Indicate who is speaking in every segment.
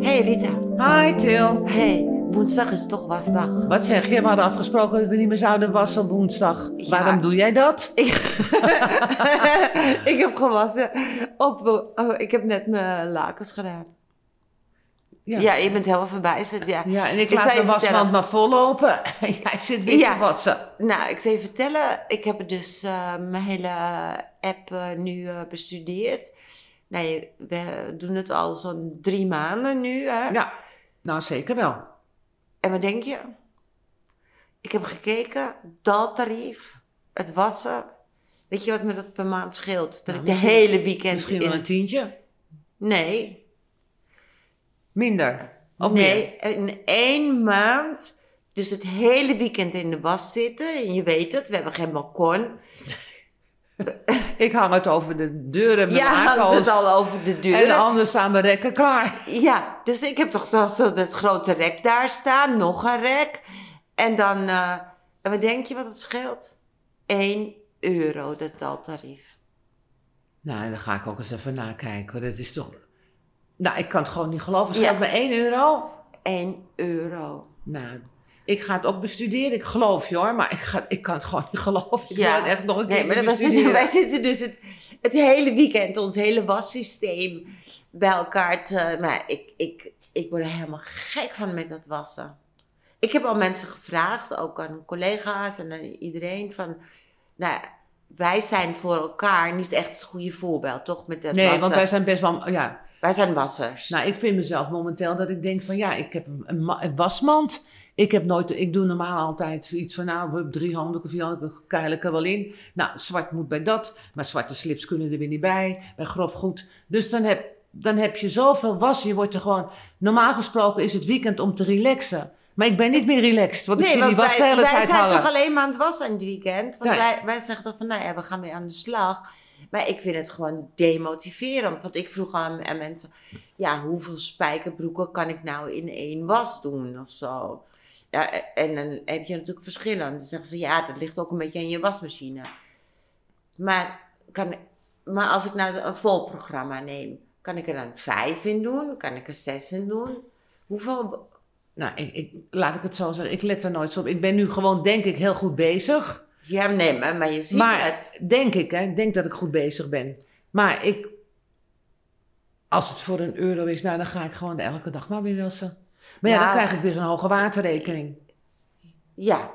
Speaker 1: hey Rita.
Speaker 2: Hi Til.
Speaker 1: hey, woensdag is toch wasdag.
Speaker 2: Wat zeg je? We hadden afgesproken dat we niet meer zouden wassen op woensdag.
Speaker 1: Ja.
Speaker 2: Waarom doe jij dat?
Speaker 1: ik heb gewassen. Op, wo- oh, ik heb net mijn lakens gedaan. Ja, je bent helemaal verbijsterd. Ja.
Speaker 2: Ja, en ik,
Speaker 1: zal
Speaker 2: laat
Speaker 1: je
Speaker 2: de wasmand
Speaker 1: vertellen.
Speaker 2: maar vollopen. En jij zit weer
Speaker 1: Ja.
Speaker 2: te wassen.
Speaker 1: Nou, ik zal je vertellen. Ik heb dus eh, mijn hele app eh, nu eh, bestudeerd. Nee, we doen het al zo'n drie maanden nu. Hè?
Speaker 2: Ja, nou zeker wel.
Speaker 1: En wat denk je? Ik heb gekeken, daltarief, het wassen. Weet je wat me dat per maand scheelt? Dat
Speaker 2: Nou,
Speaker 1: ik de
Speaker 2: misschien-
Speaker 1: hele weekend...
Speaker 2: Misschien wel
Speaker 1: in-
Speaker 2: een tientje.
Speaker 1: Nee.
Speaker 2: Minder. Of meer.
Speaker 1: nee, in één maand... Dus het hele weekend in de was zitten. En je weet het, we hebben geen balkon.
Speaker 2: Ik hang het over de deuren met
Speaker 1: Ja, hangt
Speaker 2: lakens.
Speaker 1: het al over de deur.
Speaker 2: En anders staan mijn rekken klaar.
Speaker 1: Ja, dus ik heb toch wel zo dat grote rek daar staan, nog een rek. En dan, eh, en wat denk je wat het scheelt? 1 euro, dat daltarief.
Speaker 2: Nou, dan ga ik ook eens even nakijken. hoor. Dat is toch... Nou, ik kan het gewoon niet geloven. Het
Speaker 1: Ja.
Speaker 2: scheelt me 1 euro.
Speaker 1: 1 euro.
Speaker 2: Nou, ik ga het ook bestuderen. Ik geloof je hoor, maar ik, ga, ik kan het gewoon niet geloven. Ik
Speaker 1: Ja.
Speaker 2: wil het echt nog een keer
Speaker 1: Nee, maar wij zitten,
Speaker 2: bestuderen.
Speaker 1: wij zitten dus het, het hele weekend, ons hele wassysteem bij elkaar te... Maar ik, ik, ik word er helemaal gek van met dat wassen. Ik heb al mensen gevraagd, ook aan collega's en aan iedereen, van... Nou, ja, wij zijn voor elkaar niet echt het goede voorbeeld, toch? Met dat
Speaker 2: Nee,
Speaker 1: wassen.
Speaker 2: want wij zijn best wel... Ja,
Speaker 1: Wij zijn wassers.
Speaker 2: nou, ik vind mezelf momenteel dat ik denk van... Ja, ik heb een, een ma- een wasmand. Ik, heb nooit, ik doe normaal altijd iets van... Nou, drie handdoeken, vier handdoeken, keil ik er wel in. Nou, zwart moet bij dat. Maar zwarte slips kunnen er weer niet bij. Bij grof goed. Dus dan heb, dan heb je zoveel was. Je wordt er gewoon... Normaal gesproken is het weekend om te relaxen. Maar ik ben niet meer relaxed. Want ik zie die was de hele
Speaker 1: wij
Speaker 2: tijd
Speaker 1: zijn
Speaker 2: hangen.
Speaker 1: toch alleen maar aan het wassen in het weekend. Want
Speaker 2: Ja.
Speaker 1: wij, wij zeggen toch van, nou ja, we gaan weer aan de slag. Maar ik vind het gewoon demotiverend. Want ik vroeg aan, aan mensen, ja, hoeveel spijkerbroeken kan ik nou in één was doen of zo? Ja, e- en dan heb je natuurlijk verschillen. Dan zeggen ze, ja, dat ligt ook een beetje aan je wasmachine. Maar, kan, maar als ik nou een vol programma neem, kan ik er dan vijf in doen? Kan ik er zes in doen? Hoeveel...
Speaker 2: Nou, ik, ik, laat ik het zo zeggen. Ik let er nooit zo op. Ik ben nu gewoon, denk ik, heel goed bezig.
Speaker 1: Ja, nee, maar, maar je ziet
Speaker 2: maar
Speaker 1: het.
Speaker 2: denk ik, hè, ik denk dat ik goed bezig ben. Maar ik, als het voor een euro is, nou, dan ga ik gewoon elke dag maar weer wassen. Maar ja,
Speaker 1: Ja.
Speaker 2: dan krijg ik weer zo'n hoge waterrekening.
Speaker 1: Ja,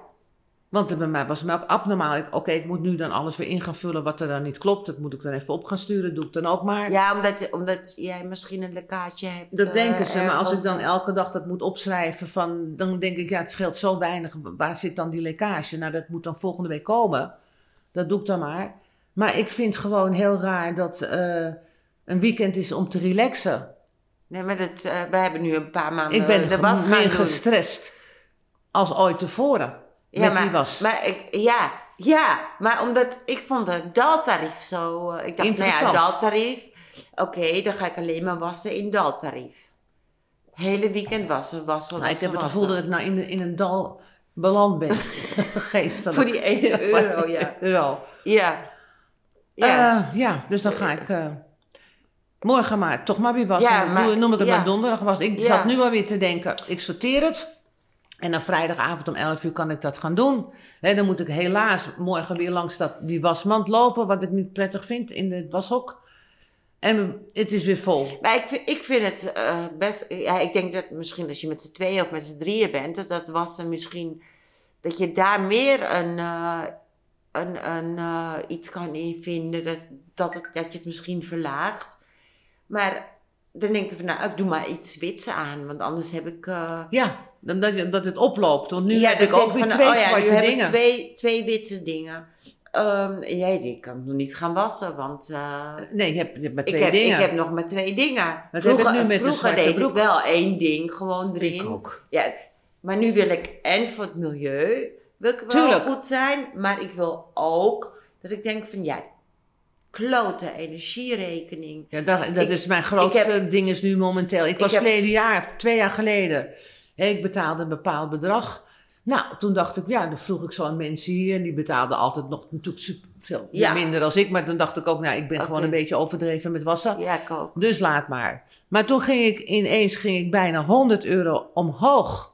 Speaker 2: Want het bij mij was het ook abnormaal. Ik- Oké, ik moet nu dan alles weer in gaan vullen wat er dan niet klopt. Dat moet ik dan even op gaan sturen. Doe ik dan ook maar.
Speaker 1: ja omdat, omdat jij misschien een lekkaatje hebt.
Speaker 2: Dat
Speaker 1: eh,
Speaker 2: denken ze, maar als ik
Speaker 1: ergens.
Speaker 2: dan elke dag dat moet opschrijven, van, dan denk ik, ja, het scheelt zo weinig. Waar zit dan die lekkage? Nou, dat moet dan volgende week komen. Dat doe ik dan maar. Maar ik vind gewoon heel raar dat eh, een weekend is om te relaxen.
Speaker 1: Nee, maar dat, eh, we hebben nu een paar maanden
Speaker 2: ik ben
Speaker 1: de
Speaker 2: ge-
Speaker 1: was gaan
Speaker 2: meer
Speaker 1: doen.
Speaker 2: gestrest als ooit tevoren
Speaker 1: Ja,
Speaker 2: met
Speaker 1: maar,
Speaker 2: die was.
Speaker 1: Maar ik, ja, ja, maar omdat ik vond het daltarief zo... eh, ik dacht, nou ja,
Speaker 2: Interessant.
Speaker 1: daltarief. Oké, dan ga ik alleen maar wassen in daltarief. Hele weekend wassen, wassen,
Speaker 2: Nou, ik
Speaker 1: wassen,
Speaker 2: heb het
Speaker 1: wassen.
Speaker 2: gevoel dat ik nou in, de- in een dal beland ben. Geestelijk.
Speaker 1: Voor die 1 euro, ja.
Speaker 2: Euro.
Speaker 1: Ja. Ja.
Speaker 2: Ja. ja, dus dan ga ik eh, morgen maar toch maar weer wassen.
Speaker 1: Ja,
Speaker 2: Dan
Speaker 1: maar-
Speaker 2: doe- noem ik het
Speaker 1: ja.
Speaker 2: maar donderdag was. Ik
Speaker 1: Ja.
Speaker 2: zat nu alweer te denken, ik sorteer het. En dan vrijdagavond om 11 uur kan ik dat gaan doen. Hè, dan moet ik helaas morgen weer langs dat, die wasmand lopen, wat ik niet prettig vind in het washok. En het is weer vol.
Speaker 1: Maar ik vind, ik vind het eh, best. Ja, ik denk dat misschien als je met z'n tweeën of met z'n drieën bent, dat dat was er misschien. Dat je daar meer een, eh, een, een, eh, iets kan in vinden. Dat, dat, het, dat je het misschien verlaagt. Maar dan denk ik van, nou, ik doe maar iets wits aan. Want anders heb ik. eh,
Speaker 2: Ja, dan dat, je- dat het oploopt. Want nu
Speaker 1: ja,
Speaker 2: heb
Speaker 1: dan
Speaker 2: ik
Speaker 1: denk
Speaker 2: ook weer
Speaker 1: van,
Speaker 2: twee
Speaker 1: oh ja, nu
Speaker 2: zwarte
Speaker 1: heb ik
Speaker 2: dingen.
Speaker 1: Twee, twee witte dingen. Ehm, en jij, die kan ik nog niet gaan wassen, want. eh,
Speaker 2: Nee, je hebt, je hebt maar
Speaker 1: ik
Speaker 2: twee
Speaker 1: heb,
Speaker 2: dingen.
Speaker 1: ik heb nog maar twee dingen.
Speaker 2: heb
Speaker 1: vroeger
Speaker 2: ik nu met de
Speaker 1: vroeger
Speaker 2: zwarte
Speaker 1: deed
Speaker 2: broek.
Speaker 1: ik wel één ding gewoon
Speaker 2: Ik
Speaker 1: erin.
Speaker 2: ook.
Speaker 1: Ja, maar nu wil ik en voor het milieu wil ik wel
Speaker 2: Tuurlijk.
Speaker 1: goed zijn, maar ik wil ook dat ik denk van ja, klote energierekening.
Speaker 2: Ja, dat, dat
Speaker 1: Ik-
Speaker 2: is mijn grootste
Speaker 1: ik
Speaker 2: ding is nu momenteel. Ik was
Speaker 1: heb-
Speaker 2: verleden jaar, twee jaar geleden. hè, Ik betaalde een bepaald bedrag. Nou, toen dacht ik, ja, dan vroeg ik zo aan mensen hier. En die betaalden altijd nog natuurlijk super veel
Speaker 1: Ja.
Speaker 2: minder dan ik. Maar toen dacht ik ook, nou, ik ben
Speaker 1: Oké.
Speaker 2: gewoon een beetje overdreven met wassen.
Speaker 1: Ja, ik ook.
Speaker 2: Dus laat maar. Maar toen ging ik ineens ging ik bijna 100 euro omhoog.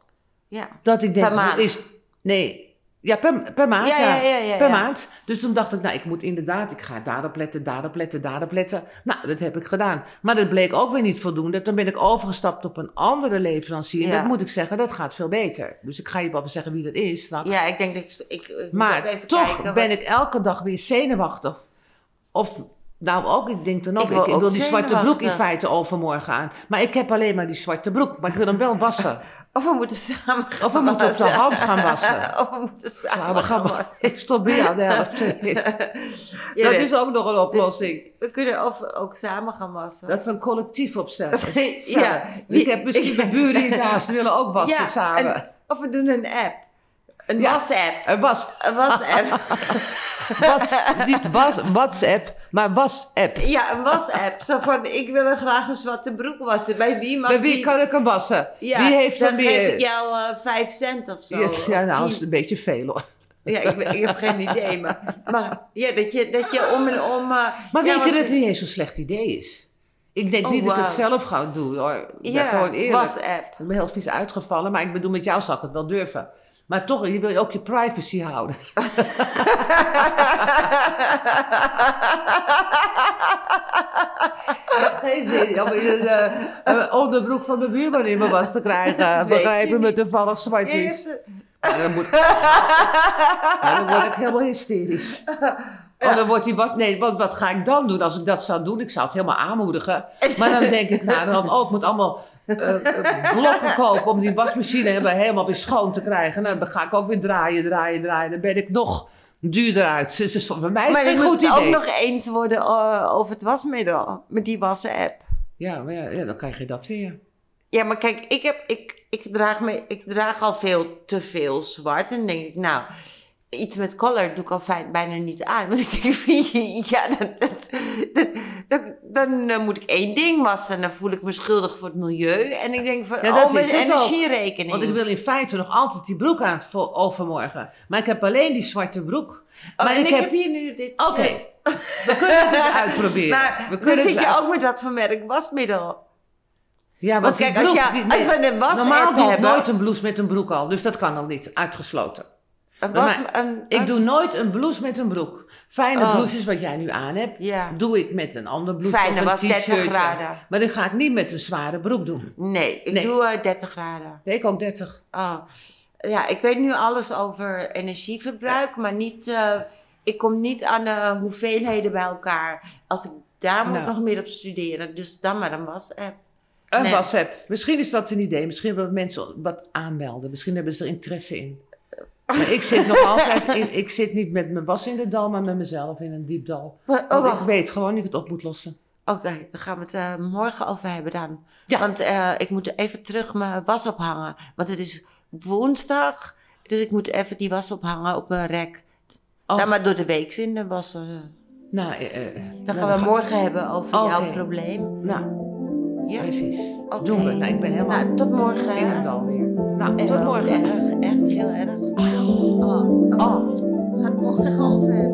Speaker 1: Ja.
Speaker 2: Dat ik denk,
Speaker 1: Per maand.
Speaker 2: hoe Is, nee, ja, per, per maand.
Speaker 1: Ja,
Speaker 2: Ja,
Speaker 1: ja, ja, ja,
Speaker 2: per
Speaker 1: ja.
Speaker 2: maand. Dus toen dacht ik, nou, ik moet inderdaad, ik ga daarop letten, daarop letten, daarop letten. Nou, dat heb ik gedaan. Maar dat bleek ook weer niet voldoende. Toen ben ik overgestapt op een andere leverancier.
Speaker 1: Ja.
Speaker 2: Dat moet ik zeggen, dat gaat veel beter. Dus ik ga je wel even zeggen wie dat is straks.
Speaker 1: Ja, ik denk dat ik... ik, ik moet ook
Speaker 2: Maar
Speaker 1: even
Speaker 2: toch
Speaker 1: kijken
Speaker 2: ben
Speaker 1: wat-
Speaker 2: ik elke dag weer zenuwachtig. Of nou ook, ik denk dan ook,
Speaker 1: Ik
Speaker 2: ik,
Speaker 1: word
Speaker 2: ik
Speaker 1: ook
Speaker 2: wil die zwarte broek in
Speaker 1: zenuwachtig.
Speaker 2: feite overmorgen aan. Maar ik heb alleen maar die zwarte broek, maar ik wil hem wel wassen.
Speaker 1: Of we moeten samen gaan
Speaker 2: Of we moeten op de
Speaker 1: wassen.
Speaker 2: hand gaan wassen.
Speaker 1: of we moeten samen
Speaker 2: Nou, we gaan maar. Ik stop bij jou de helft.
Speaker 1: Ja,
Speaker 2: Dat
Speaker 1: nee.
Speaker 2: is ook nog een oplossing.
Speaker 1: We kunnen of ook samen gaan wassen.
Speaker 2: Dat we een collectief opstellen.
Speaker 1: Ja, wie-
Speaker 2: Ik heb misschien
Speaker 1: ik-
Speaker 2: mijn buren hiernaast willen ook wassen
Speaker 1: Ja,
Speaker 2: samen.
Speaker 1: en- of we doen een app. Een
Speaker 2: Ja.
Speaker 1: was-app.
Speaker 2: En was,
Speaker 1: Een was-app.
Speaker 2: wat, niet was, WhatsApp, maar was-app.
Speaker 1: ja, een was-app. Zo van, ik wil er graag een zwarte broek wassen. Bij wie mag
Speaker 2: Bij wie
Speaker 1: die-
Speaker 2: kan ik hem wassen?
Speaker 1: Ja,
Speaker 2: wie heeft
Speaker 1: dan
Speaker 2: er
Speaker 1: geef
Speaker 2: meer?
Speaker 1: ik jou eh, vijf cent of zo.
Speaker 2: Ja,
Speaker 1: Of
Speaker 2: ja, nou, dat is
Speaker 1: tien.
Speaker 2: een beetje veel hoor.
Speaker 1: ja ik, weet- ik heb geen idee. Maar, maar ja, dat je, dat je om en om... eh,
Speaker 2: Maar
Speaker 1: ja,
Speaker 2: weet je
Speaker 1: want-
Speaker 2: dat het niet eens zo'n slecht idee is? Ik denk
Speaker 1: Oh,
Speaker 2: niet dat ik het
Speaker 1: wauw.
Speaker 2: zelf ga doen hoor. Ja,
Speaker 1: Ja,
Speaker 2: gewoon eerlijk.
Speaker 1: was-app.
Speaker 2: Ik ben heel vies uitgevallen, maar ik bedoel, met jou zou ik het wel durven. Maar toch, je wil je ook je privacy houden. ik heb geen zin om in een eh, een onderbroek van mijn buurman in mijn was te
Speaker 1: Dat
Speaker 2: krijgen.
Speaker 1: weet
Speaker 2: Begrijp
Speaker 1: je
Speaker 2: je me
Speaker 1: niet.
Speaker 2: toevallig zwart
Speaker 1: Ja, je
Speaker 2: is.
Speaker 1: hebt-
Speaker 2: Ja, dan, moet, Ja, dan word ik helemaal hysterisch. Oh, dan wordt hij wat, nee, wat, wat ga ik dan doen als ik dat zou doen? Ik zou het helemaal aanmoedigen. Maar dan denk ik, nou, dan, oh, ik moet allemaal eh, eh, blokken kopen om die wasmachine helemaal, helemaal weer schoon te krijgen. Nou, dan ga ik ook weer draaien, draaien, draaien. Dan ben ik nog duurder uit. Dus, dus voor mij is
Speaker 1: maar
Speaker 2: het
Speaker 1: je
Speaker 2: een
Speaker 1: moet
Speaker 2: goed
Speaker 1: het
Speaker 2: idee.
Speaker 1: ook nog eens worden eh, over het wasmiddel. Met die wassen-app.
Speaker 2: Ja, maar ja, ja, dan krijg je dat weer.
Speaker 1: Ja, maar kijk, ik, heb, ik, ik, draag me, ik draag al veel te veel zwart. En dan denk ik, nou, iets met color doe ik al fijn, bijna niet aan. Want ik denk, ja, dat, dat, dat- dat- dan eh, moet ik één ding wassen. En dan voel ik me schuldig voor het milieu. En ik denk van,
Speaker 2: Ja, dat
Speaker 1: oh, mijn
Speaker 2: is het ook.
Speaker 1: energierekening.
Speaker 2: Want ik wil in feite nog altijd die broek aan voor overmorgen. Maar ik heb alleen die zwarte broek.
Speaker 1: Oh,
Speaker 2: maar
Speaker 1: en ik heb... hier nu dit
Speaker 2: Oké,
Speaker 1: shirt.
Speaker 2: we kunnen het uitproberen.
Speaker 1: Maar
Speaker 2: we
Speaker 1: dan
Speaker 2: kunnen
Speaker 1: zit
Speaker 2: het
Speaker 1: je
Speaker 2: uit-
Speaker 1: ook met dat van merk wasmiddel.
Speaker 2: Ja,
Speaker 1: Want
Speaker 2: die
Speaker 1: kijk, als,
Speaker 2: broek,
Speaker 1: je,
Speaker 2: die-
Speaker 1: als we een was
Speaker 2: Normaal doe ik
Speaker 1: hebben...
Speaker 2: nooit een blouse met een broek al, dus dat kan al niet. Uitgesloten.
Speaker 1: een
Speaker 2: Maar
Speaker 1: was, een,
Speaker 2: Ik doe nooit een blouse met een broek. Fijne
Speaker 1: Oh.
Speaker 2: blouses wat jij nu aan hebt,
Speaker 1: Ja.
Speaker 2: doe ik met een ander blouse
Speaker 1: Fijne
Speaker 2: of een
Speaker 1: was 30
Speaker 2: t-shirtje.
Speaker 1: graden.
Speaker 2: Maar dat ga ik niet met een zware broek doen.
Speaker 1: Nee, ik
Speaker 2: Nee.
Speaker 1: doe eh, 30 graden.
Speaker 2: Nee, ik ook 30.
Speaker 1: Oh. Ja, ik weet nu alles over energieverbruik, maar niet, eh, ik kom niet aan eh, hoeveelheden bij elkaar. Als ik daar moet ik
Speaker 2: Nou.
Speaker 1: nog meer op studeren, dus dan maar een was-app.
Speaker 2: Een
Speaker 1: Nee.
Speaker 2: WhatsApp. Misschien is dat een idee. Misschien willen mensen wat aanmelden. Misschien hebben ze er interesse in. Maar ik zit nog altijd in, ik zit niet met mijn was in de dal, maar met mezelf in een diep dal.
Speaker 1: Maar- Oh,
Speaker 2: Want
Speaker 1: wacht.
Speaker 2: ik weet gewoon dat ik het op moet lossen.
Speaker 1: Oké, dan gaan we het eh, morgen over hebben dan.
Speaker 2: Ja.
Speaker 1: Want eh, ik moet even terug mijn was ophangen, want het is woensdag, dus ik moet even die was ophangen op mijn rek.
Speaker 2: Oh.
Speaker 1: Dan maar door de week in de wassen.
Speaker 2: Nou, eh, eh,
Speaker 1: Dan
Speaker 2: nou,
Speaker 1: gaan we morgen hebben over
Speaker 2: Oké.
Speaker 1: jouw probleem.
Speaker 2: Nou,
Speaker 1: Ja.
Speaker 2: Precies.
Speaker 1: Oké.
Speaker 2: Doen we. Nou, ik ben helemaal
Speaker 1: Nou, tot morgen.
Speaker 2: in het
Speaker 1: hè?
Speaker 2: dal weer. Nou,
Speaker 1: Eh,
Speaker 2: tot
Speaker 1: wel,
Speaker 2: morgen.
Speaker 1: Echt, echt heel erg. Oh,
Speaker 2: Oh.
Speaker 1: gaat morgen over.